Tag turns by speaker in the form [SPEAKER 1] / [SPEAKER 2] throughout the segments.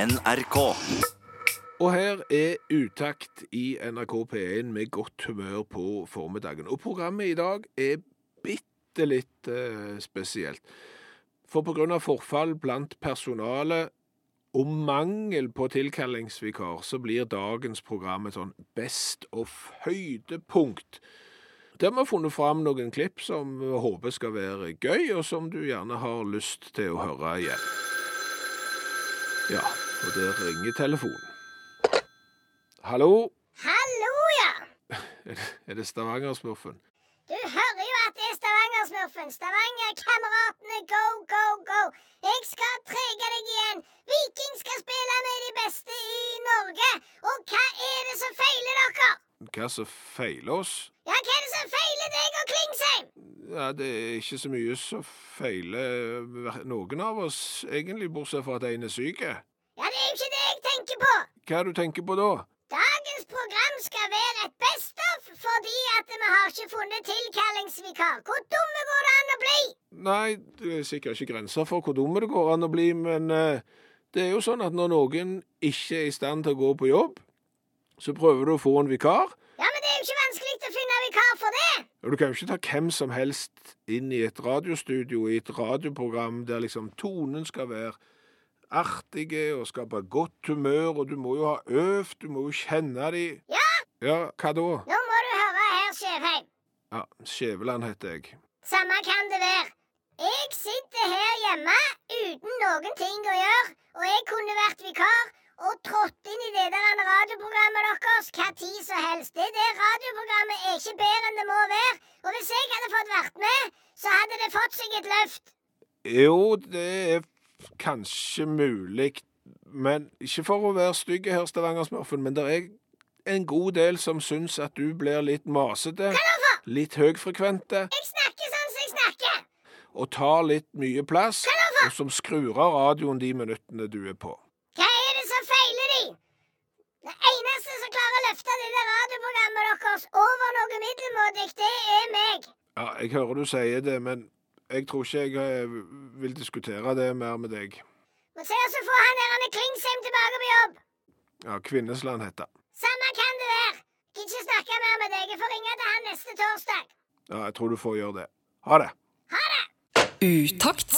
[SPEAKER 1] NRK.
[SPEAKER 2] Og her er Utakt i NRK P1 med godt humør på formiddagen. Og programmet i dag er bitte litt eh, spesielt. For pga. forfall blant personalet og mangel på tilkallingsvikar, så blir dagens program et sånn best of høydepunkt. Der vi har funnet fram noen klipp som vi håper skal være gøy, og som du gjerne har lyst til å høre igjen. Ja, og der ringer telefonen. Hallo,
[SPEAKER 3] Hallo, ja!
[SPEAKER 2] er det Stavanger-smurfen?
[SPEAKER 3] Du hører jo at det er Stavanger-smurfen. Stavanger-kameratene, go, go, go! Jeg skal trege deg igjen. Viking skal spille med de beste i Norge. Og hva er det som feiler dere?
[SPEAKER 2] Hva som feiler oss?
[SPEAKER 3] Ja, hva er det som feiler deg og Klingsheim?
[SPEAKER 2] Ja, det er ikke så mye som feiler hver- noen av oss, egentlig, bortsett fra at en er syk.
[SPEAKER 3] Ja, det er jo ikke det jeg tenker på.
[SPEAKER 2] Hva er det du tenker på da?
[SPEAKER 3] Dagens program skal være et best of fordi at vi har ikke funnet tilkallingsvikar. Hvor dumme går det an å bli?
[SPEAKER 2] Nei, det er sikkert ikke grenser for hvor dumme det går an å bli, men eh, det er jo sånn at når noen ikke er i stand til å gå på jobb, så prøver du å få en vikar,
[SPEAKER 3] Ja, men det er jo ikke vanskelig å finne vikar for det.
[SPEAKER 2] Og du kan jo ikke ta hvem som helst inn i et radiostudio, i et radioprogram der liksom tonen skal være artige og skape godt humør, og du må jo ha øvd, du må jo kjenne de.
[SPEAKER 3] Ja,
[SPEAKER 2] Ja, hva da?
[SPEAKER 3] nå må du høre her, Skjevheim.
[SPEAKER 2] Ja, Skjæveland heter jeg.
[SPEAKER 3] Samme kan det være. Jeg sitter her hjemme uten noen ting å gjøre, og jeg kunne vært vikar og trådt inn i det der andre radioprogrammet deres hva tid som helst. Det der radioprogrammet er ikke bedre enn det må være, og hvis jeg hadde fått vært med, så hadde det fått seg et løft.
[SPEAKER 2] Jo, det er kanskje mulig, men ikke for å være stygg her, Stavanger-smurfen, men det er en god del som syns at du blir litt masete, litt høyfrekvente.
[SPEAKER 3] Jeg snakker sånn som jeg snakker.
[SPEAKER 2] og tar litt mye plass, og som skrur av radioen de minuttene du er på.
[SPEAKER 3] Hva er det som feiler de? Det eneste som klarer å løfte det der radioprogrammet deres over noe middelmådig, det er meg.
[SPEAKER 2] Ja, jeg hører du sier det, men jeg tror ikke jeg eh, vil diskutere det mer med deg.
[SPEAKER 3] Må se oss å få han der Anne Klingsheim tilbake på jobb.
[SPEAKER 2] Ja, Kvinnesland heter det.
[SPEAKER 3] Samme kan det være. Gidder ikke snakke mer med deg. Jeg får ringe til han neste torsdag.
[SPEAKER 2] Ja, jeg tror du får gjøre det. Ha det.
[SPEAKER 4] Utakt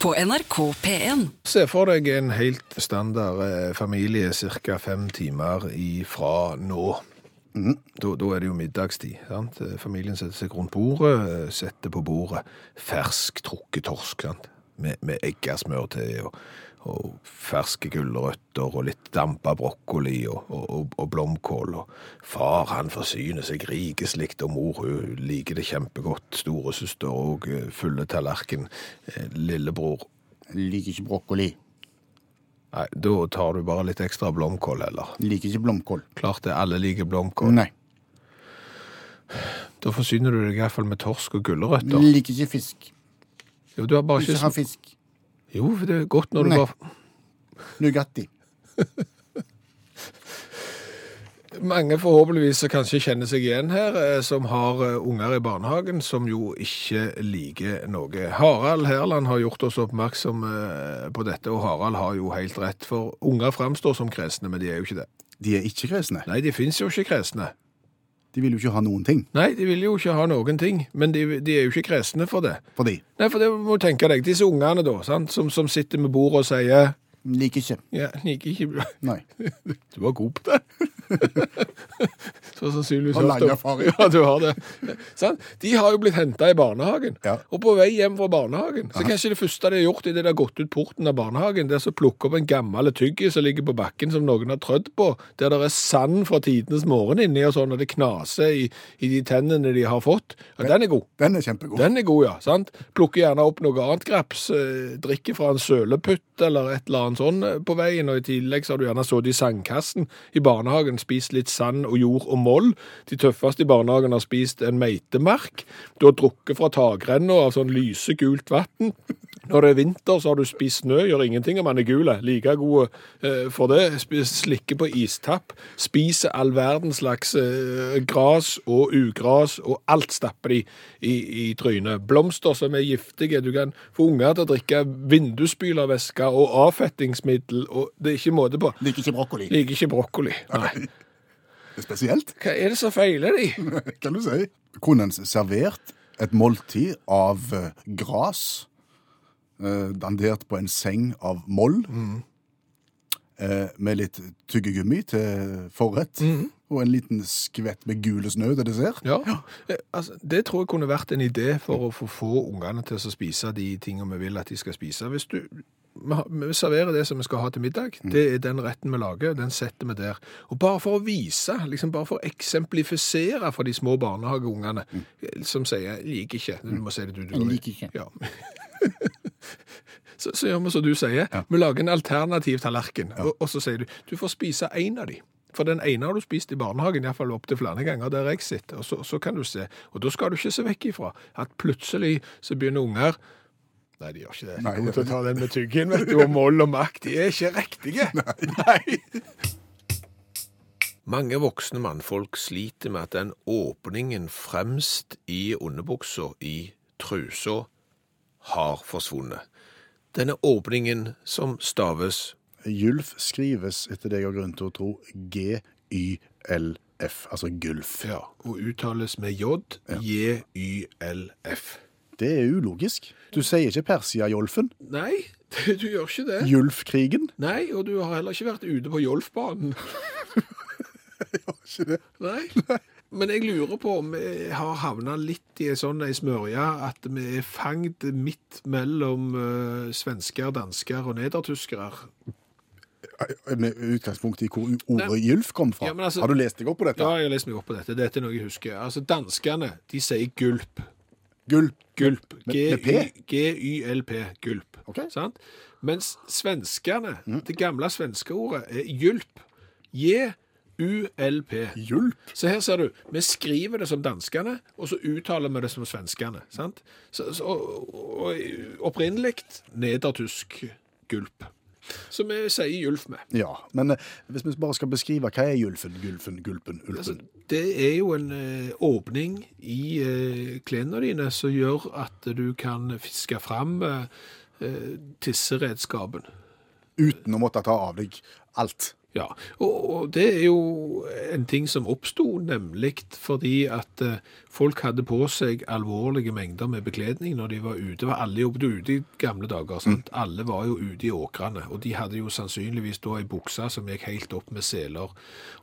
[SPEAKER 4] på NRK P1.
[SPEAKER 2] Se for deg en helt standard eh, familie ca. fem timer ifra nå. Da, da er det jo middagstid. sant? Eh, Familien setter seg rundt bordet, eh, setter på bordet fersk trukket torsk sant? med, med eggesmør til, og, og ferske gulrøtter og litt dampa brokkoli og, og, og, og blomkål. Og far han forsyner seg rikeslikt, og mor hun liker det kjempegodt. Storesøster og eh, fulle tallerken. Eh, Lillebror
[SPEAKER 5] Liker ikke brokkoli.
[SPEAKER 2] Nei, da tar du bare litt ekstra blomkål heller.
[SPEAKER 5] Liker ikke blomkål.
[SPEAKER 2] Klart det, alle liker blomkål.
[SPEAKER 5] Nei.
[SPEAKER 2] Da forsyner du deg i hvert fall med torsk og gulrøtter.
[SPEAKER 5] Liker ikke fisk.
[SPEAKER 2] Jo, du har bare
[SPEAKER 5] Ikke
[SPEAKER 2] ikke...
[SPEAKER 5] ha fisk.
[SPEAKER 2] Jo, for det er godt når du
[SPEAKER 5] Nei.
[SPEAKER 2] bare...
[SPEAKER 5] Nugatti.
[SPEAKER 2] Mange forhåpentligvis som kanskje kjenner seg igjen her, eh, som har eh, unger i barnehagen, som jo ikke liker noe. Harald Herland har gjort oss oppmerksom eh, på dette, og Harald har jo helt rett, for unger fremstår som kresne, men de er jo ikke det.
[SPEAKER 5] De er ikke kresne.
[SPEAKER 2] Nei, de finnes jo ikke kresne.
[SPEAKER 5] De vil jo ikke ha noen ting
[SPEAKER 2] Nei, de vil jo ikke ha noen ting, men de, de er jo ikke kresne for det.
[SPEAKER 5] for de.
[SPEAKER 2] Nei, for det må du tenke deg, disse ungene da, sant? Som, som sitter med bordet og sier
[SPEAKER 5] Liker ikke.
[SPEAKER 2] ja, liker ikke
[SPEAKER 5] Nei.
[SPEAKER 2] Du var god på det. Så sannsynligvis
[SPEAKER 5] Har
[SPEAKER 2] hørt
[SPEAKER 5] lang
[SPEAKER 2] om-
[SPEAKER 5] erfaring.
[SPEAKER 2] Ja, du har det. Sant? De har jo blitt henta i barnehagen.
[SPEAKER 5] Ja.
[SPEAKER 2] Og på vei hjem fra barnehagen så kanskje det første de har gjort idet de har gått ut porten av barnehagen, det er å plukke opp en gammel tyggis som ligger på bakken som noen har trødd på, der det er sand fra tidenes morgen inni og sånn, og det knaser i, i de tennene de har fått. Ja, den er god.
[SPEAKER 5] Den er kjempegod.
[SPEAKER 2] Den er god, ja. sant? Plukker gjerne opp noe annet graps, eh, drikker fra en søleputt eller et eller annet sånn eh, på veien, og i tillegg så har du gjerne sittet i sandkassen i barnehagen, spist litt sand og jord og moll. De tøffeste i barnehagen har spist en meitemark. Du har drukket fra takrenna av sånn lysegult vann. Når det er vinter, så har du spist snø, gjør ingenting om han er gul. Like gode eh, for det. Sp- Slikker på istapp. Spiser all verdens slags eh, gras og ugras, og alt stapper de i, i trynet. Blomster som er giftige. Du kan få unger til å drikke vindusspylervæske og avfettingsmiddel, og det er ikke måte på.
[SPEAKER 5] Liker ikke brokkoli.
[SPEAKER 2] Liker ikke brokkoli. Nei.
[SPEAKER 5] Det er Spesielt,
[SPEAKER 2] Hva er det som feiler de?
[SPEAKER 5] kan du si. Kunne en servert et måltid av eh, gras, eh, dandert på en seng av moll, eh, med litt tyggegummi til forrett, og en liten skvett med gule snø til dessert?
[SPEAKER 2] Ja, eh, altså, Det tror jeg kunne vært en idé for å få få ungene til å spise de tingene vi vil at de skal spise. Hvis du, vi har- vi serverer det som vi skal ha til middag,
[SPEAKER 5] Mm.
[SPEAKER 2] det er den retten vi lager, den setter vi der. Og bare for å vise, liksom bare for å eksemplifisere for de små barnehageungene, eh, som sier 'jeg liker ikke', du må si det du, du
[SPEAKER 5] Mm. Jeg liker ikke.
[SPEAKER 2] Ja. Så, så gjør vi som du sier. Vi lager en alternativ tallerken. Og, og så sier du du får spise én av de. For den ene har du spist i barnehagen, iallfall opptil flere ganger der jeg sitter. Og så, så kan du se. Og da skal du ikke se vekk ifra at plutselig så begynner unger Nei, de gjør ikke det.
[SPEAKER 5] Nei,
[SPEAKER 2] de kommer til å
[SPEAKER 5] det-
[SPEAKER 2] ta den med tyggen, vet du. Og mål og makt. De er ikke riktige. Nei. Mange voksne mannfolk sliter med at den åpningen fremst i underbuksa, i trusa, har forsvunnet. Denne åpningen som staves
[SPEAKER 5] Gylf skrives, etter det jeg har grunn til å tro, G-Y-L-F, altså gulf.
[SPEAKER 2] ja, og uttales med J, J-Y-L-F.
[SPEAKER 5] Det er ulogisk. Du sier ikke Persia-Jolfen,
[SPEAKER 2] Nei, du gjør ikke det.
[SPEAKER 5] Julfkrigen.
[SPEAKER 2] Nei, og du har heller ikke vært ute på Jolfbanen.
[SPEAKER 5] Ikke det.
[SPEAKER 2] Nei. Men jeg lurer på om vi har havna litt i ei sånn ei smørje at vi er fangt midt mellom eh, svensker, dansker og nedertyskere.
[SPEAKER 5] Med utgangspunkt i hvor ordet gylf kom fra.
[SPEAKER 2] Ja, men altså-
[SPEAKER 5] Har du lest deg opp på dette?
[SPEAKER 2] Ja, jeg har lest meg opp på dette. Dette er noe jeg husker. Altså, danskene, de sier gulp.
[SPEAKER 5] Gulp.
[SPEAKER 2] Gulp.
[SPEAKER 5] Med- med P?
[SPEAKER 2] G- G-Y-L-P. Gulp.
[SPEAKER 5] Ok.
[SPEAKER 2] Sant? Mens svenskene, det gamle svenske ordet, er gylp. J-U-L-P.
[SPEAKER 5] Gylp?
[SPEAKER 2] Så her ser du, vi skriver det som danskene, og så uttaler vi det som svenskene. sant? Så, så, og, og opprinnelig nedertysk gulp. Så vi sier gylf med.
[SPEAKER 5] Ja, men eh, hvis vi bare skal beskrive hva er gylfen, gulfen, gulpen, ulpen?
[SPEAKER 2] Altså, det er jo en eh, åpning i eh, klærne dine som gjør at du kan fiske fram eh, eh, tisseredskapen.
[SPEAKER 5] Uten å måtte ta av deg alt.
[SPEAKER 2] Ja, og, og det er jo en ting som oppsto, nemlig fordi at eh, folk hadde på seg alvorlige mengder med bekledning når de var ute. Var alle jobbet ute i gamle dager, sant? Alle var jo ute i åkrene, og de hadde jo sannsynligvis da ei bukse som gikk helt opp med seler.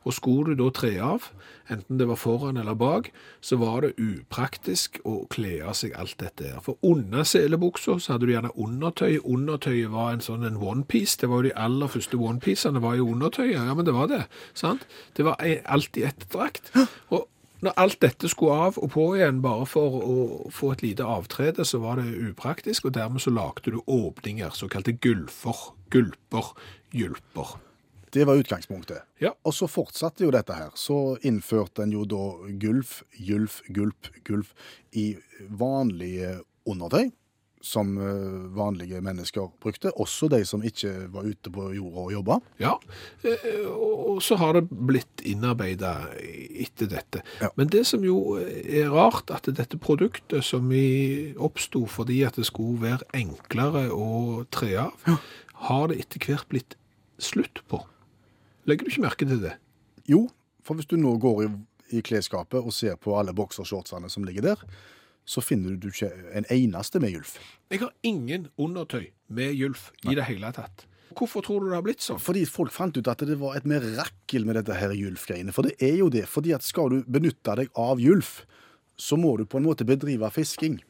[SPEAKER 2] Og skulle du da tre av, enten det var foran eller bak, så var det upraktisk å kle av seg alt dette her. For under selebuksa så hadde du gjerne undertøy. Undertøyet var en sånn en onepiece. Det var jo de aller første onepiecene var jo undertøyet. Ja, men det var det. Sant? Det var ei- alltid ett drakt. Og når alt dette skulle av og på igjen bare for å få et lite avtrede, så var det upraktisk, og dermed så lagde du åpninger, såkalte gulfer, gulper, gylper.
[SPEAKER 5] Det var utgangspunktet.
[SPEAKER 2] Ja.
[SPEAKER 5] Og så fortsatte jo dette her. Så innførte en jo da gulf, gylf, gulp, gulf i vanlige undertøy. Som eh, vanlige mennesker brukte, også de som ikke var ute på jorda og jobba.
[SPEAKER 2] Ja, eh, og og så har det blitt innarbeidet etter dette.
[SPEAKER 5] Ja.
[SPEAKER 2] Men det som jo er rart, at dette produktet som i- oppsto fordi at det skulle være enklere å tre av, har det etter hvert blitt slutt på. Legger du ikke merke til det?
[SPEAKER 5] Jo, for hvis du nå går i, i klesskapet og ser på alle boksershortsene som ligger der, så finner du ikke en eneste med gylf.
[SPEAKER 2] Jeg har ingen undertøy med gylf i det hele tatt. Hvorfor tror du det har blitt sånn?
[SPEAKER 5] Fordi folk fant ut at det var et mirakel med dette her gylf-greiene. For det er jo det. fordi at skal du benytte deg av gylf, så må du på en måte bedrive fisking.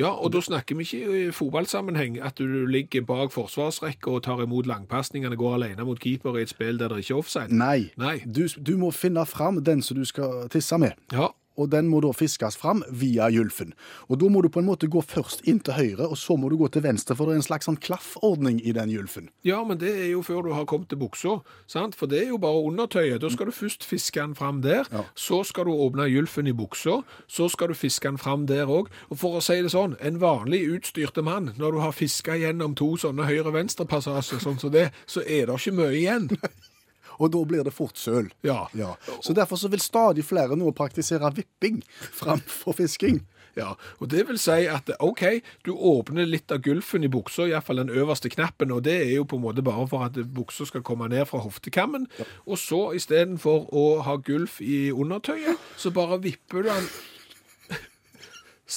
[SPEAKER 2] Ja, og da snakker vi ikke i fotballsammenheng at du ligger bak forsvarsrekka og tar imot langpasningene, går alene mot keeper i et spill der det ikke er offside.
[SPEAKER 5] Nei.
[SPEAKER 2] Nei.
[SPEAKER 5] Du, du må finne fram den som du skal tisse med.
[SPEAKER 2] Ja,
[SPEAKER 5] og den må da fiskes fram via gylfen. Og da må du på en måte gå først inn til høyre, og så må du gå til venstre, for det er en slags sånn klaffordning i den gylfen.
[SPEAKER 1] Ja, men det er jo før du har kommet til buksa, sant? for det er jo bare undertøyet. Da skal du først fiske den fram der,
[SPEAKER 5] Ja.
[SPEAKER 1] så skal du åpne gylfen i buksa, så skal du fiske den fram der òg. Og for å si det sånn, en vanlig utstyrte mann, når du har fiska gjennom to sånne høyre-venstre-passasjer sånn som det, så er det ikke mye igjen.
[SPEAKER 5] Og da blir det fort søl.
[SPEAKER 1] Ja.
[SPEAKER 5] Ja. Så derfor så vil stadig flere nå praktisere vipping framfor fisking.
[SPEAKER 1] Ja, og det vil si at OK, du åpner litt av gulfen i buksa, iallfall den øverste knappen, og det er jo på en måte bare for at buksa skal komme ned fra hoftekammen. Og så istedenfor å ha gulf i undertøyet, så bare vipper du den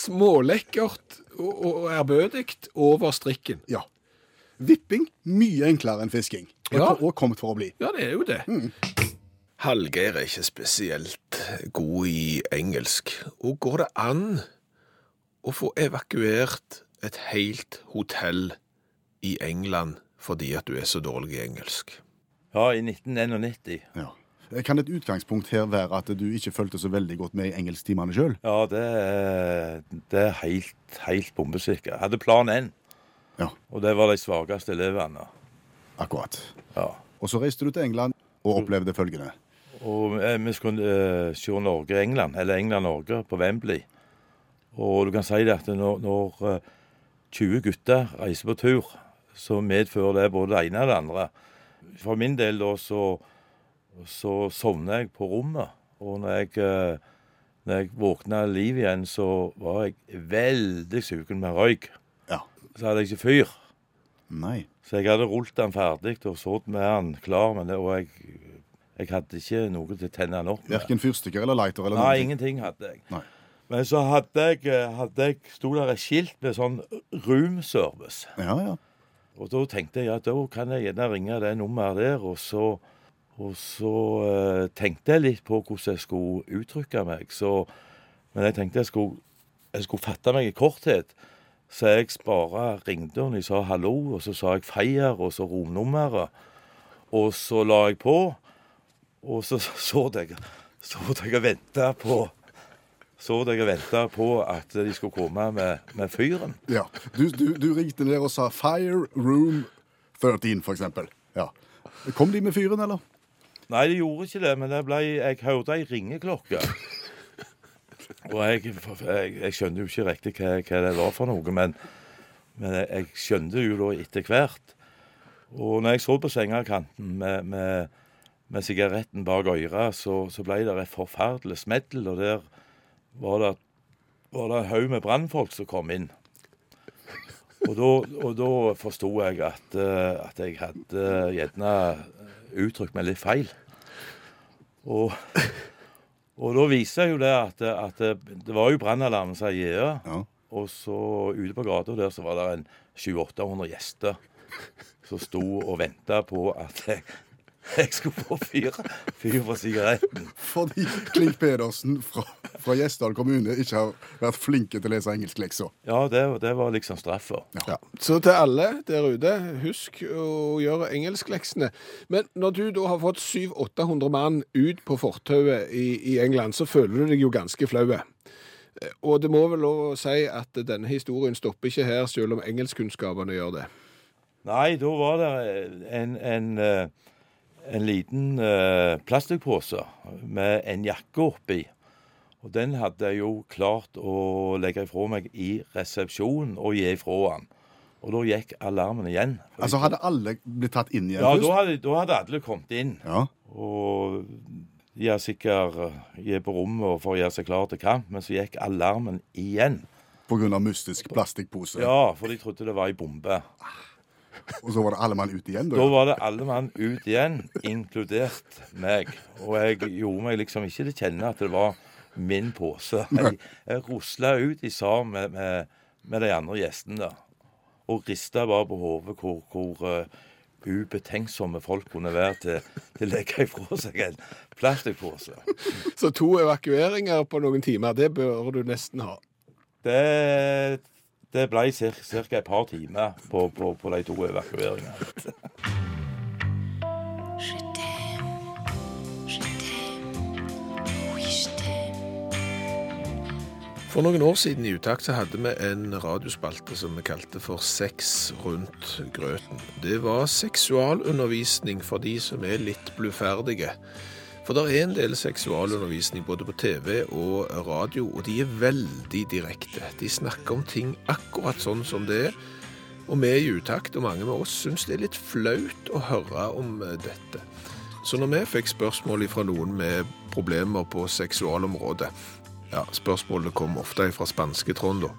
[SPEAKER 1] smålekkert og, og ærbødig over strikken.
[SPEAKER 5] Ja. Vipping mye enklere enn fisking. Og
[SPEAKER 1] Ja.
[SPEAKER 5] og kommet for å bli.
[SPEAKER 1] Ja, det er jo det.
[SPEAKER 2] Hallgeir er ikke spesielt god i engelsk. Og går det an å få evakuert et helt hotell i England fordi at du er så dårlig i engelsk?
[SPEAKER 6] Ja, i 1991.
[SPEAKER 5] Ja. Kan et utgangspunkt her være at du ikke fulgte så veldig godt med i engelsktimene sjøl?
[SPEAKER 6] Ja, det, er- det er helt, helt bombesikker. Jeg hadde plan N,
[SPEAKER 5] Ja,
[SPEAKER 6] og det var de svakeste elevene.
[SPEAKER 5] akkurat.
[SPEAKER 6] Ja.
[SPEAKER 5] Og så reiste du til England og opplevde følgende.
[SPEAKER 6] Og eh, vi skulle eh, se Norge-England, eller England-Norge, på Wembley. Og du kan si det at når, når eh, 20 gutter reiser på tur, så medfører det både det ene og det andre. For min del da, så, så sovna jeg på rommet. Og når jeg, eh, når jeg våkna i liv igjen, så var jeg veldig sugen med røyk.
[SPEAKER 5] Ja.
[SPEAKER 6] Så hadde jeg ikke fyr.
[SPEAKER 5] Nei.
[SPEAKER 6] Så jeg hadde rullet den ferdig og sådd med den klar, men det, og jeg, jeg hadde ikke noe til å tenne den opp med.
[SPEAKER 5] Verken fyrstikker eller lighter eller
[SPEAKER 6] Nei,
[SPEAKER 5] ting.
[SPEAKER 6] ingenting hadde jeg.
[SPEAKER 5] Nei.
[SPEAKER 6] Men så hadde jeg, eh, hadde jeg sto der et skilt med sånn room service.
[SPEAKER 5] Ja, ja.
[SPEAKER 6] Og da tenkte jeg at da kan jeg gjerne ringe det nummeret der, og så, og så eh, tenkte jeg litt på hvordan jeg skulle uttrykke meg. Så, men jeg tenkte jeg skulle, jeg skulle fatte meg i korthet. Så jeg bare ringte henne, jeg sa hallo, og så sa jeg feier, og så romnummeret. Og så la jeg på, og så så jeg, så jeg og venta på så jeg og venta på at de skulle komme med, med fyren.
[SPEAKER 5] ja. Du, du, du ringte ned og sa 'Fire Room 13', for eksempel. Ja. Kom de med fyren, eller?
[SPEAKER 6] Nei, det gjorde ikke det, men det ble, jeg hørte ei ringeklokke. Og jeg, jeg, jeg skjønte jo ikke riktig hva, hva det var for noe, men, men jeg, jeg skjønte jo da etter hvert. Og når jeg så på sengekanten med, med, med sigaretten bak øret, så, så ble det et forferdelig smell, og der var det, var det en haug med brannfolk som kom inn. Og da, og da forsto jeg at, eh, at jeg hadde eh, gjerne uttrykt meg litt feil. Og, og da viser jo det at, at det var jo brannalarmen som gikk.
[SPEAKER 5] Ja.
[SPEAKER 6] Og så ute på gata der så var det en 700-800 gjester som sto og venta på at jeg, jeg skulle få fyr, fyr på sigaretten.
[SPEAKER 5] Fordi Klink Pedersen fra, fra Gjesdal kommune ikke har vært flinke til å lese engelsklekser.
[SPEAKER 6] Ja, det, det var liksom straffa.
[SPEAKER 2] Ja. Så til alle der ute, husk å gjøre engelskleksene. Men når du da har fått 700-800 mann ut på fortauet i, i England, så føler du deg jo ganske flau. Eh, Og det må vel lov å si at denne historien stopper ikke her, selv om engelskkunnskapene gjør det.
[SPEAKER 6] Nei, da var det en, en, eh, en liten eh, plastikkpose med en jakke oppi. Og den hadde jeg jo klart å legge ifra meg i resepsjonen og gi ifra han. Og da gikk alarmen igjen.
[SPEAKER 5] Altså, hadde alle blitt tatt inn igjen
[SPEAKER 6] ja, da
[SPEAKER 5] først?
[SPEAKER 6] hadde, da hadde alle kommet inn.
[SPEAKER 5] Ja.
[SPEAKER 6] Og de er sikkert de er på rommet for å gjøre seg klar til kamp, men så gikk alarmen igjen.
[SPEAKER 5] På grunn av mystisk plastikkpose.
[SPEAKER 6] Ja, for de trodde det var ei bombe.
[SPEAKER 5] Og så var det alle mann ute igjen, da.
[SPEAKER 6] Da var det alle mann ut igjen, inkludert meg. Og jeg gjorde meg liksom ikke til kjenne at det var min pose. Jeg, jeg rusla ut i sammen med, med, med de andre gjestene. Og rista bare på hodet hvor, hvor eh, ubetenksomme folk kunne være til, til å legge ifra seg en plastpose.
[SPEAKER 1] Så to evakueringer på noen timer, det bør du nesten ha.
[SPEAKER 6] Det, det ble ca. et par timer på, på, på de to evakueringene.
[SPEAKER 7] Je t'aime, je t'aime, oui je t'aime,
[SPEAKER 2] For noen år siden i Utakt så hadde vi en radiospalte som vi kalte for Sex rundt grøten. Det var seksualundervisning for de som er litt bluferdige. For det er en del seksualundervisning både på TV og radio, og de er veldig direkte. De snakker om ting akkurat sånn som det er. Og vi i Utakt, og mange med oss, syns det er litt flaut å høre om eh, dette. Så når vi fikk spørsmål fra noen med problemer på seksualområdet, ja, spørsmålene kom ofte fra spanske Trond da,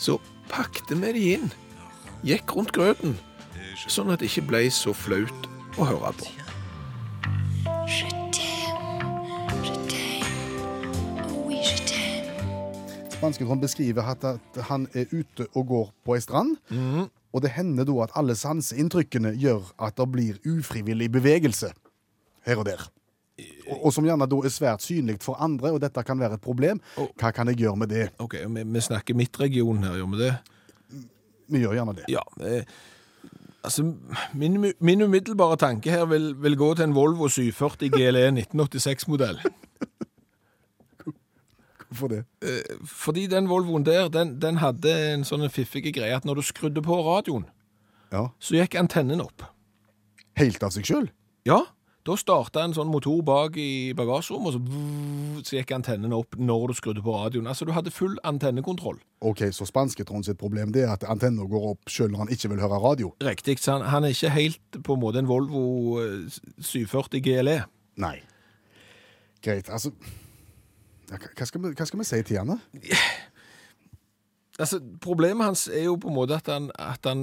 [SPEAKER 2] så pakte vi de inn, gikk rundt grøten, sånn at det ikke ble så flaut å høre på.
[SPEAKER 5] Spanske Trond beskriver at, at han er ute og går på ei strand.
[SPEAKER 2] Mhm.
[SPEAKER 5] Og det hender da at alle sanseinntrykkene gjør at det blir ufrivillig bevegelse her og der. Og, og som gjerne da er svært synlig for andre, og dette kan være et problem. Hva kan jeg gjøre med det?
[SPEAKER 2] Ok, vi, vi snakker midtregion her, gjør vi det?
[SPEAKER 5] Vi gjør gjerne det.
[SPEAKER 2] Ja, eh, altså min, min umiddelbare tanke her vil, vil gå til en Volvo 740 GLE 1986-modell.
[SPEAKER 5] Hvorfor det?
[SPEAKER 2] Fordi den Volvoen der, den, den hadde en sånn fiffig greie at når du skrudde på radioen,
[SPEAKER 5] Ja.
[SPEAKER 2] så gikk antennen opp.
[SPEAKER 5] Helt av seg sjøl?
[SPEAKER 2] Ja, da starta en sånn motor bak i bagasjerommet, og så, vvv, så gikk antennen opp når du skrudde på radioen. Altså, du hadde full antennekontroll.
[SPEAKER 5] OK, så spanske Trond sitt problem det er at antenna går opp sjøl når han ikke vil høre radio?
[SPEAKER 2] Riktig, så han, han er ikke helt på en måte en Volvo eh, 740 GLE.
[SPEAKER 5] Nei. Greit, altså ja, hva- hva, skal vi, hva skal vi si til han, da?
[SPEAKER 2] Altså, Problemet hans er jo på en måte at han, at han,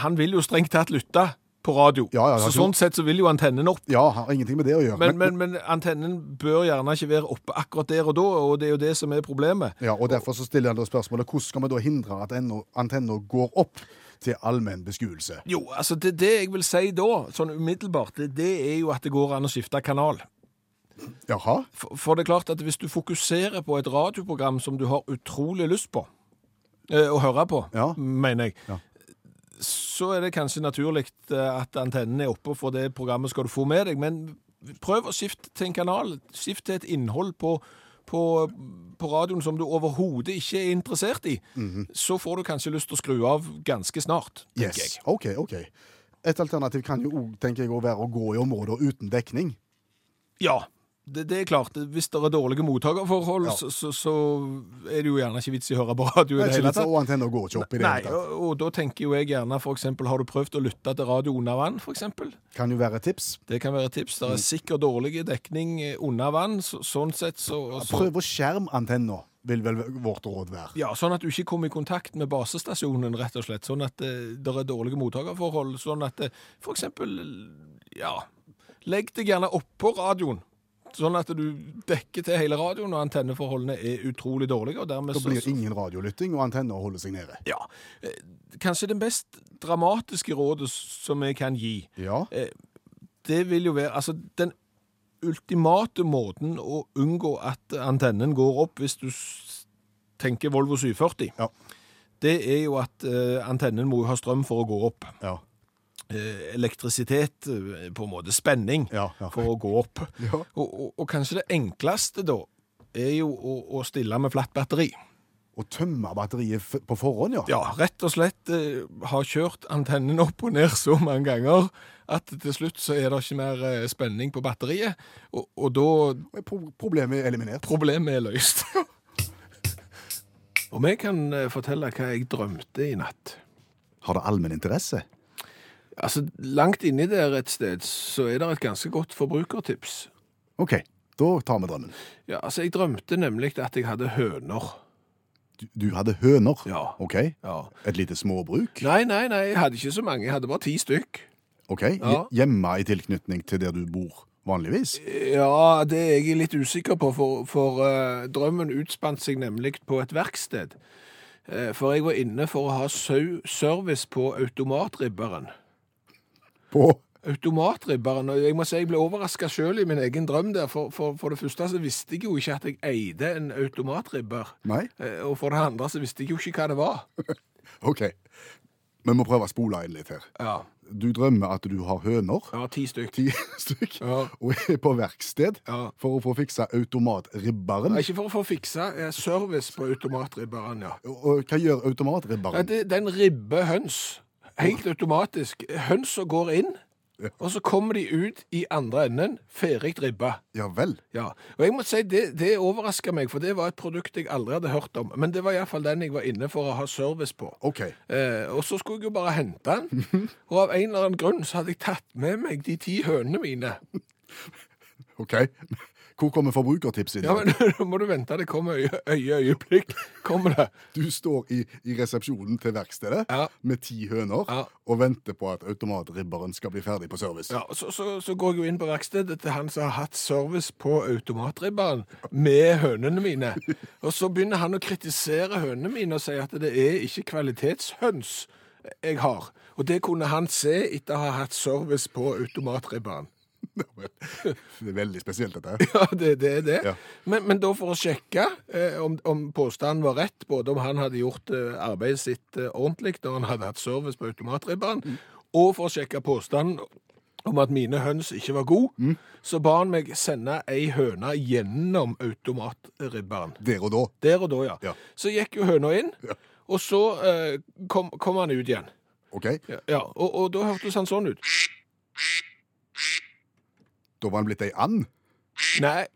[SPEAKER 2] han vil jo strengt tatt lytte på radio.
[SPEAKER 5] Ja, ja, ja,
[SPEAKER 2] så
[SPEAKER 5] jo.
[SPEAKER 2] Sånn sett så vil jo antennen opp.
[SPEAKER 5] Ja, har ingenting med det å gjøre.
[SPEAKER 2] Men, men, men antennen bør gjerne ikke være oppe akkurat der og da, og det er jo det som er problemet.
[SPEAKER 5] Ja, og Derfor så stiller han da spørsmålet hvordan skal vi da hindre at ennå- antenna går opp til allmenn beskuelse?
[SPEAKER 2] Jo, altså det, det jeg vil si da, sånn umiddelbart, det, det er jo at det går an å skifte kanal.
[SPEAKER 5] Jaha?
[SPEAKER 2] For, for det er klart at hvis du fokuserer på et radioprogram som du har utrolig lyst på, eh, å høre på,
[SPEAKER 5] Ja.
[SPEAKER 2] mener jeg,
[SPEAKER 5] Ja.
[SPEAKER 2] så er det kanskje naturlig eh, at antennen er oppe, for det programmet skal du få med deg. Men prøv å skifte til en kanal. Skift til et innhold på, på, på radioen som du overhodet ikke er interessert i. Så får du kanskje lyst til å skru av ganske snart, tenker
[SPEAKER 5] Mhm. Yes.
[SPEAKER 2] jeg.
[SPEAKER 5] OK, OK. Et alternativ kan jo òg, tenker jeg, å være å gå i områder uten dekning.
[SPEAKER 2] Ja, det, det er klart. Hvis det er dårlige mottakerforhold,
[SPEAKER 5] Ja.
[SPEAKER 2] så, så, så er det jo gjerne ikke vits i å høre på radio i det
[SPEAKER 5] Det er ikke
[SPEAKER 2] hele
[SPEAKER 5] vits,
[SPEAKER 2] tatt.
[SPEAKER 5] og antenna går ikke opp i det
[SPEAKER 2] Nei,
[SPEAKER 5] hele tatt.
[SPEAKER 2] og, og da tenker jo jeg gjerne for eksempel, har du prøvd å lytte til radio under vann, for eksempel?
[SPEAKER 5] Kan jo være et tips.
[SPEAKER 2] Det kan være et tips. Det er
[SPEAKER 5] Mm.
[SPEAKER 2] sikkert dårlig dekning eh, under vann, så, sånn sett så, så
[SPEAKER 5] Prøv å skjerme antenna, vil vel vårt råd være.
[SPEAKER 2] ja, Sånn at du ikke kommer i kontakt med basestasjonen, rett og slett. Sånn at eh, det er dårlige mottakerforhold. Sånn at eh, for eksempel, ja, legg deg gjerne oppå radioen. Sånn at du dekker til hele radioen, og antenneforholdene er utrolig dårlige. og dermed
[SPEAKER 5] Da
[SPEAKER 2] så-
[SPEAKER 5] blir
[SPEAKER 2] så-
[SPEAKER 5] ingen radiolytting, og antenna holder seg nede.
[SPEAKER 2] Ja. eh, Kanskje det mest dramatiske rådet som jeg kan gi,
[SPEAKER 5] Ja.
[SPEAKER 2] Eh, det vil jo være Altså, den ultimate måten å unngå at antennen går opp hvis du s- tenker Volvo 740,
[SPEAKER 5] Ja.
[SPEAKER 2] det er jo at eh, antennen må jo ha strøm for å gå opp.
[SPEAKER 5] Ja.
[SPEAKER 2] Eh, elektrisitet, eh, på en måte spenning,
[SPEAKER 5] Ja, ja.
[SPEAKER 2] for å gå opp.
[SPEAKER 5] Ja.
[SPEAKER 2] Og, og, og kanskje det enkleste da er jo å, å stille med flatt batteri.
[SPEAKER 5] Å tømme batteriet f på forhånd, ja.
[SPEAKER 2] Ja, rett og slett eh, har kjørt antennen opp og ned så mange ganger at til slutt så er det ikke mer eh, spenning på batteriet, og, og da
[SPEAKER 5] Og pro- Problemet er eliminert.
[SPEAKER 2] problemet er løst. og vi kan eh, fortelle hva jeg drømte i natt.
[SPEAKER 5] Har det allmenn interesse?
[SPEAKER 2] Altså, langt inni der et sted så er det et ganske godt forbrukertips.
[SPEAKER 5] OK, da tar vi drømmen.
[SPEAKER 2] Ja, altså, jeg drømte nemlig at jeg hadde høner.
[SPEAKER 5] Du, du hadde høner?
[SPEAKER 2] Ja.
[SPEAKER 5] OK.
[SPEAKER 2] Ja.
[SPEAKER 5] Et lite småbruk?
[SPEAKER 2] Nei, nei, nei, jeg hadde ikke så mange, jeg hadde bare ti stykk.
[SPEAKER 5] OK. hje-
[SPEAKER 2] Ja. Eh.
[SPEAKER 5] Hjemme i tilknytning til der du bor vanligvis?
[SPEAKER 2] Ja, det er jeg litt usikker på, for, for eh, drømmen utspant seg nemlig på et verksted. Eh, for jeg var inne for å ha sau service på automatribberen.
[SPEAKER 5] På
[SPEAKER 2] Automatribberen, og jeg må si jeg ble overraska sjøl i min egen drøm der. For, for, for det første så visste jeg jo ikke at jeg eide en automatribber.
[SPEAKER 5] Nei?
[SPEAKER 2] Eh, og for det andre så visste jeg jo ikke hva det var.
[SPEAKER 5] OK. Vi må prøve å spole inn litt her.
[SPEAKER 2] Ja.
[SPEAKER 5] Du drømmer at du har høner,
[SPEAKER 2] Ja, ti stykk.
[SPEAKER 5] ti stykk,
[SPEAKER 2] Ja.
[SPEAKER 5] og er på verksted
[SPEAKER 2] Ja.
[SPEAKER 5] for å få fiksa
[SPEAKER 2] Nei,
[SPEAKER 5] automatribberen.
[SPEAKER 2] Ikke for å få fiksa eh, service på automatribberen, ja.
[SPEAKER 5] Og- Og hva gjør
[SPEAKER 2] Nei,
[SPEAKER 5] automatribberen?
[SPEAKER 2] det, den ribber høns helt automatisk. Hønsa går inn,
[SPEAKER 5] Ja.
[SPEAKER 2] og så kommer de ut i andre enden ferdig ribba.
[SPEAKER 5] Ja vel.
[SPEAKER 2] Ja, og jeg må si det, det overraska meg, for det var et produkt jeg aldri hadde hørt om. Men det var iallfall den jeg var inne for å ha service på.
[SPEAKER 5] OK.
[SPEAKER 2] Eh, og så skulle jeg jo bare hente den, og av en eller annen grunn så hadde jeg tatt med meg de ti hønene mine.
[SPEAKER 5] ok. Hvor kommer forbrukertipset inn?
[SPEAKER 2] Ja, men nå må du vente, det kommer øye, øye øyeblikk. Kommer det.
[SPEAKER 5] Du står i, i resepsjonen til verkstedet
[SPEAKER 2] Ja.
[SPEAKER 5] med ti høner
[SPEAKER 2] Ja.
[SPEAKER 5] og venter på at automatribberen skal bli ferdig på service.
[SPEAKER 2] Ja, så, så, så går jeg jo inn på verkstedet til han som har hatt service på automatribberen med hønene mine. Og så begynner han å kritisere hønene mine og sier at det er ikke kvalitetshøns jeg har. Og det kunne han se etter å ha hatt service på automatribberen.
[SPEAKER 5] Det er veldig spesielt, dette. her.
[SPEAKER 2] Ja, det, det er det.
[SPEAKER 5] Ja.
[SPEAKER 2] Men, men da for å sjekke eh, om, om påstanden var rett, både om han hadde gjort eh, arbeidet sitt eh, ordentlig da han hadde hatt service på automatribberen,
[SPEAKER 5] Mm.
[SPEAKER 2] og for å sjekke påstanden om at mine høns ikke var gode,
[SPEAKER 5] Mm.
[SPEAKER 2] så ba han meg sende ei høne gjennom automatribberen.
[SPEAKER 5] Der og da.
[SPEAKER 2] Der og da, ja.
[SPEAKER 5] Ja.
[SPEAKER 2] Så gikk jo høna inn,
[SPEAKER 5] Ja.
[SPEAKER 2] og så eh, kom, kom han ut igjen.
[SPEAKER 5] OK,
[SPEAKER 2] Ja, ja, og, og da hørtes han sånn ut.
[SPEAKER 5] da var han blitt ei and.
[SPEAKER 2] Nei,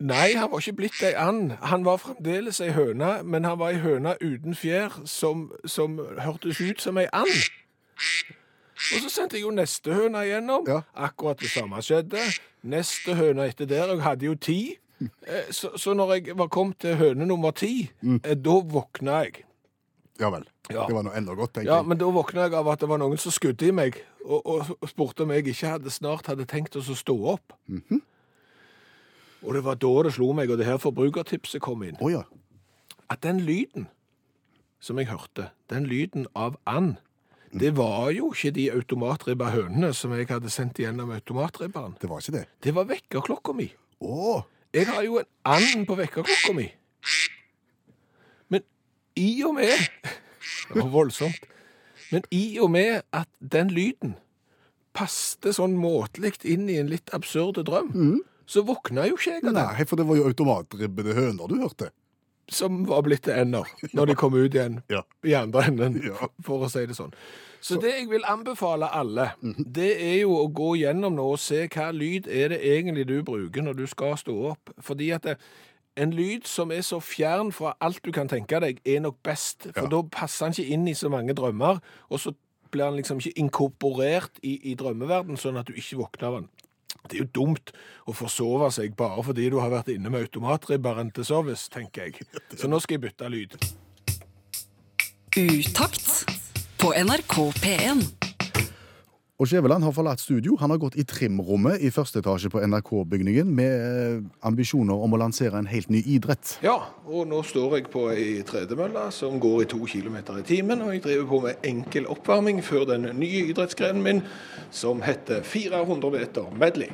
[SPEAKER 2] nei, han var ikke blitt ei and. Han var fremdeles ei høne, men han var ei høne uten fjær som, som hørtes ut som ei and. Og så sendte jeg jo neste høne igjennom.
[SPEAKER 5] Ja.
[SPEAKER 2] Akkurat det samme skjedde. Neste høne etter der. Jeg hadde jo ti. Eh, Så, så når jeg var kommet til høne nummer ti, eh, da våkna jeg.
[SPEAKER 5] Ja vel.
[SPEAKER 2] Ja.
[SPEAKER 5] Det var nå enda godt, tenker
[SPEAKER 2] Ja, men da våkna jeg av at det var noen som skudde i meg, og, og spurte om jeg ikke hadde, snart hadde tenkt oss å stå opp. Og det var da det slo meg, og det her forbrukertipset kom inn,
[SPEAKER 5] jeg. Å ja.
[SPEAKER 2] at den lyden som jeg hørte, den lyden av and, det var jo ikke de automatribba hønene som jeg hadde sendt gjennom automatribberen.
[SPEAKER 5] Det var ikke det.
[SPEAKER 2] Det var vekkerklokka mi.
[SPEAKER 5] Å!
[SPEAKER 2] Jeg har jo en and på vekkerklokka mi. Men i og med Det var voldsomt. Men i og med at den lyden passte sånn måtelig inn i en litt absurd drøm, så våkna jo ikke jeg av den,
[SPEAKER 5] Nei, for det var jo automatribbede høner du hørte.
[SPEAKER 2] som var blitt til ender når de kom ut igjen
[SPEAKER 5] Ja.
[SPEAKER 2] i andre enden,
[SPEAKER 5] Ja.
[SPEAKER 2] for å si det sånn. Så, Mhm. det jeg vil anbefale alle, det er jo å gå gjennom nå og se hva lyd er det egentlig du bruker når du skal stå opp. Fordi at det, en lyd som er så fjern fra alt du kan tenke deg, er nok best. For
[SPEAKER 5] Ja.
[SPEAKER 2] da passer han ikke inn i så mange drømmer, og så blir han liksom ikke inkorporert i, i drømmeverden, sånn at du ikke våkner av han. Det er jo dumt å forsove seg bare fordi du har vært inne med automatribberen til service, tenker jeg. Så nå skal jeg bytte lyd.
[SPEAKER 4] Utakt på NRK P1.
[SPEAKER 5] Og Skjæveland har forlatt studio. Han har gått i trimrommet i første etasje på NRK-bygningen med eh, ambisjoner om å lansere en helt ny idrett.
[SPEAKER 2] Ja, og nå står jeg på ei tredemølle som går i to kilometer i timen, og jeg driver på med enkel oppvarming før den nye idrettsgrenen min, som heter 400 meter medley.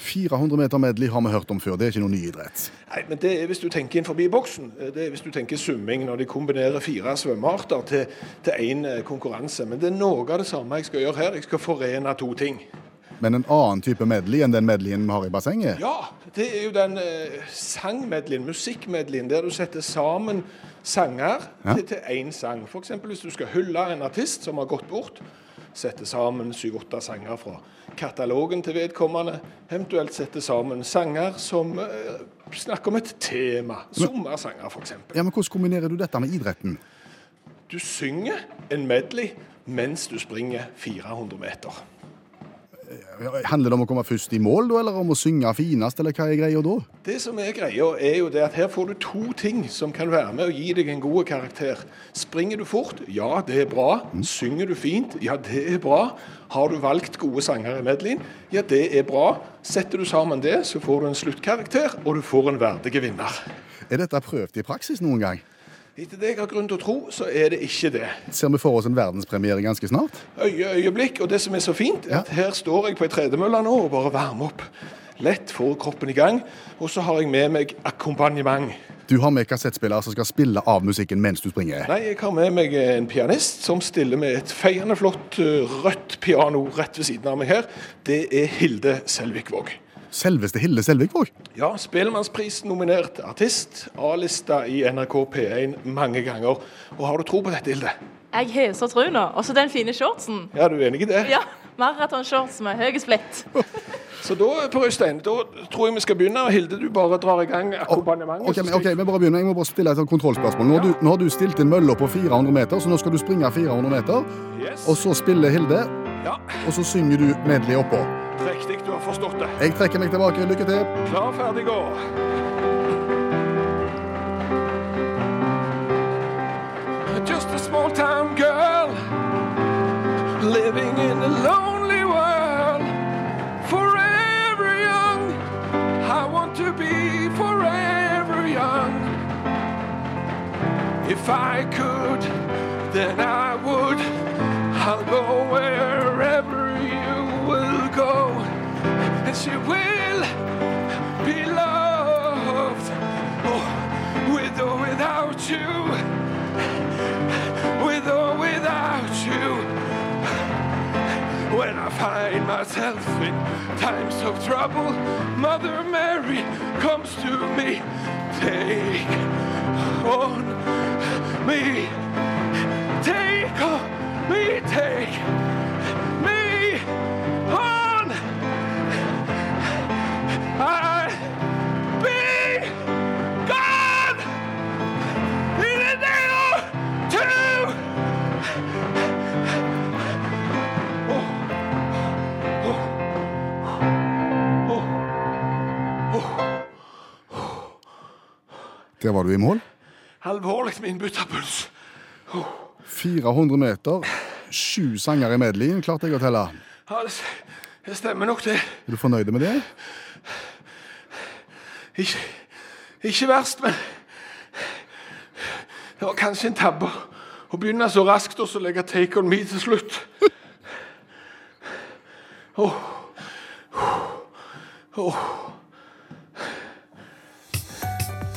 [SPEAKER 5] 400 meter medley har vi hørt om før. Det er ikke noen ny idrett.
[SPEAKER 2] Nei, men det er hvis du tenker inn forbi boksen. Det er hvis du tenker summing når de kombinerer fire svømmearter til, til én eh, konkurranse. Men det er noe av det samme jeg skal gjøre her. Jeg skal forene to ting.
[SPEAKER 5] Men en annen type medley enn den medleyen vi har i bassenget?
[SPEAKER 2] Ja, det er jo den eh, sangmedleyen, musikkmedleyen, der du setter sammen sanger
[SPEAKER 5] Ja.
[SPEAKER 2] til- til én sang. F.eks. hvis du skal hylle en artist som har gått bort. Sette sammen syv-åtte sanger fra katalogen til vedkommende. Eventuelt sette sammen sanger som eh, snakker om et tema. Sommersanger, f.eks.
[SPEAKER 5] Ja, men Hvordan kombinerer du dette med idretten?
[SPEAKER 2] Du synger en medley mens du springer 400 meter.
[SPEAKER 5] Handler det om å komme først i mål, da, eller om å synge finest, eller hva er greia da?
[SPEAKER 2] Det som er greia, er jo det at her får du to ting som kan være med og gi deg en god karakter. Springer du fort? Ja, det er bra. Synger du fint? Ja, det er bra. Har du valgt gode sanger i medleyen? Ja, det er bra. Setter du sammen det, så får du en sluttkarakter, og du får en verdig vinner.
[SPEAKER 5] Er dette prøvd i praksis noen gang?
[SPEAKER 2] Etter det jeg har grunn til å tro, så er det ikke det.
[SPEAKER 5] Ser vi for oss en verdenspremiere ganske snart?
[SPEAKER 2] Øye, øyeblikk, og det som er så fint, er at her står jeg på ei tredemølle nå og bare varmer opp. Lett får kroppen i gang, og så har jeg med meg akkompagnement.
[SPEAKER 5] Du har med kassettspillere som skal spille av musikken mens du springer.
[SPEAKER 2] Nei, jeg har med meg en pianist som stiller med et feiende flott eh, rødt piano rett ved siden av meg her. Det er Hilde Selvikvåg.
[SPEAKER 5] Selveste Hilde Selvikvåg.
[SPEAKER 2] Ja, Spellemannspris-nominert artist. A-lista i NRK P1 mange ganger. Og har du tro på dette, Hilde?
[SPEAKER 7] Jeg har så tro nå. Og så den fine shortsen.
[SPEAKER 2] Ja, du er enig i det?
[SPEAKER 7] Ja, maratonshorts med høy splitt.
[SPEAKER 2] Så da, Per Øystein, da tror jeg vi skal begynne. Og Hilde, du bare drar i gang akkompagnementet.
[SPEAKER 5] Ok,
[SPEAKER 2] så
[SPEAKER 5] men,
[SPEAKER 2] skal
[SPEAKER 5] ok, vi bare begynner. Jeg må bare stille et sånt kontrollspørsmål. Nå har, du, nå har du stilt inn mølla på 400 meter, så nå skal du springe 400 meter.
[SPEAKER 2] jeg- Yes.
[SPEAKER 5] Og så spiller Hilde,
[SPEAKER 2] Ja,
[SPEAKER 5] og så synger du medley oppå.
[SPEAKER 2] riktig, du har forstått det.
[SPEAKER 5] Jeg trekker meg tilbake. Lykke til.
[SPEAKER 2] Klar, ferdig, gå. Just a small town girl living in a lonely world. Forever young, I want to be forever young. If I could, then I would. I'll go wherever you will go, and she will be loved oh, with or without you with or without you when I find myself in times of trouble mother Mary comes to me take on me take on me take me on I be God in the name of two. Oh, oh,
[SPEAKER 5] Der var du i mål.
[SPEAKER 2] Alvorlig min butterpuls.
[SPEAKER 5] 400 meter, sju sanger i medleyen, klarte jeg å telle.
[SPEAKER 2] Ja, det s- det stemmer nok, det.
[SPEAKER 5] Er du fornøyd med det?
[SPEAKER 2] Ikke, ikke verst, men det var kanskje en tabbe å- å begynne så raskt og så legge take on me til slutt. Åh. Åh.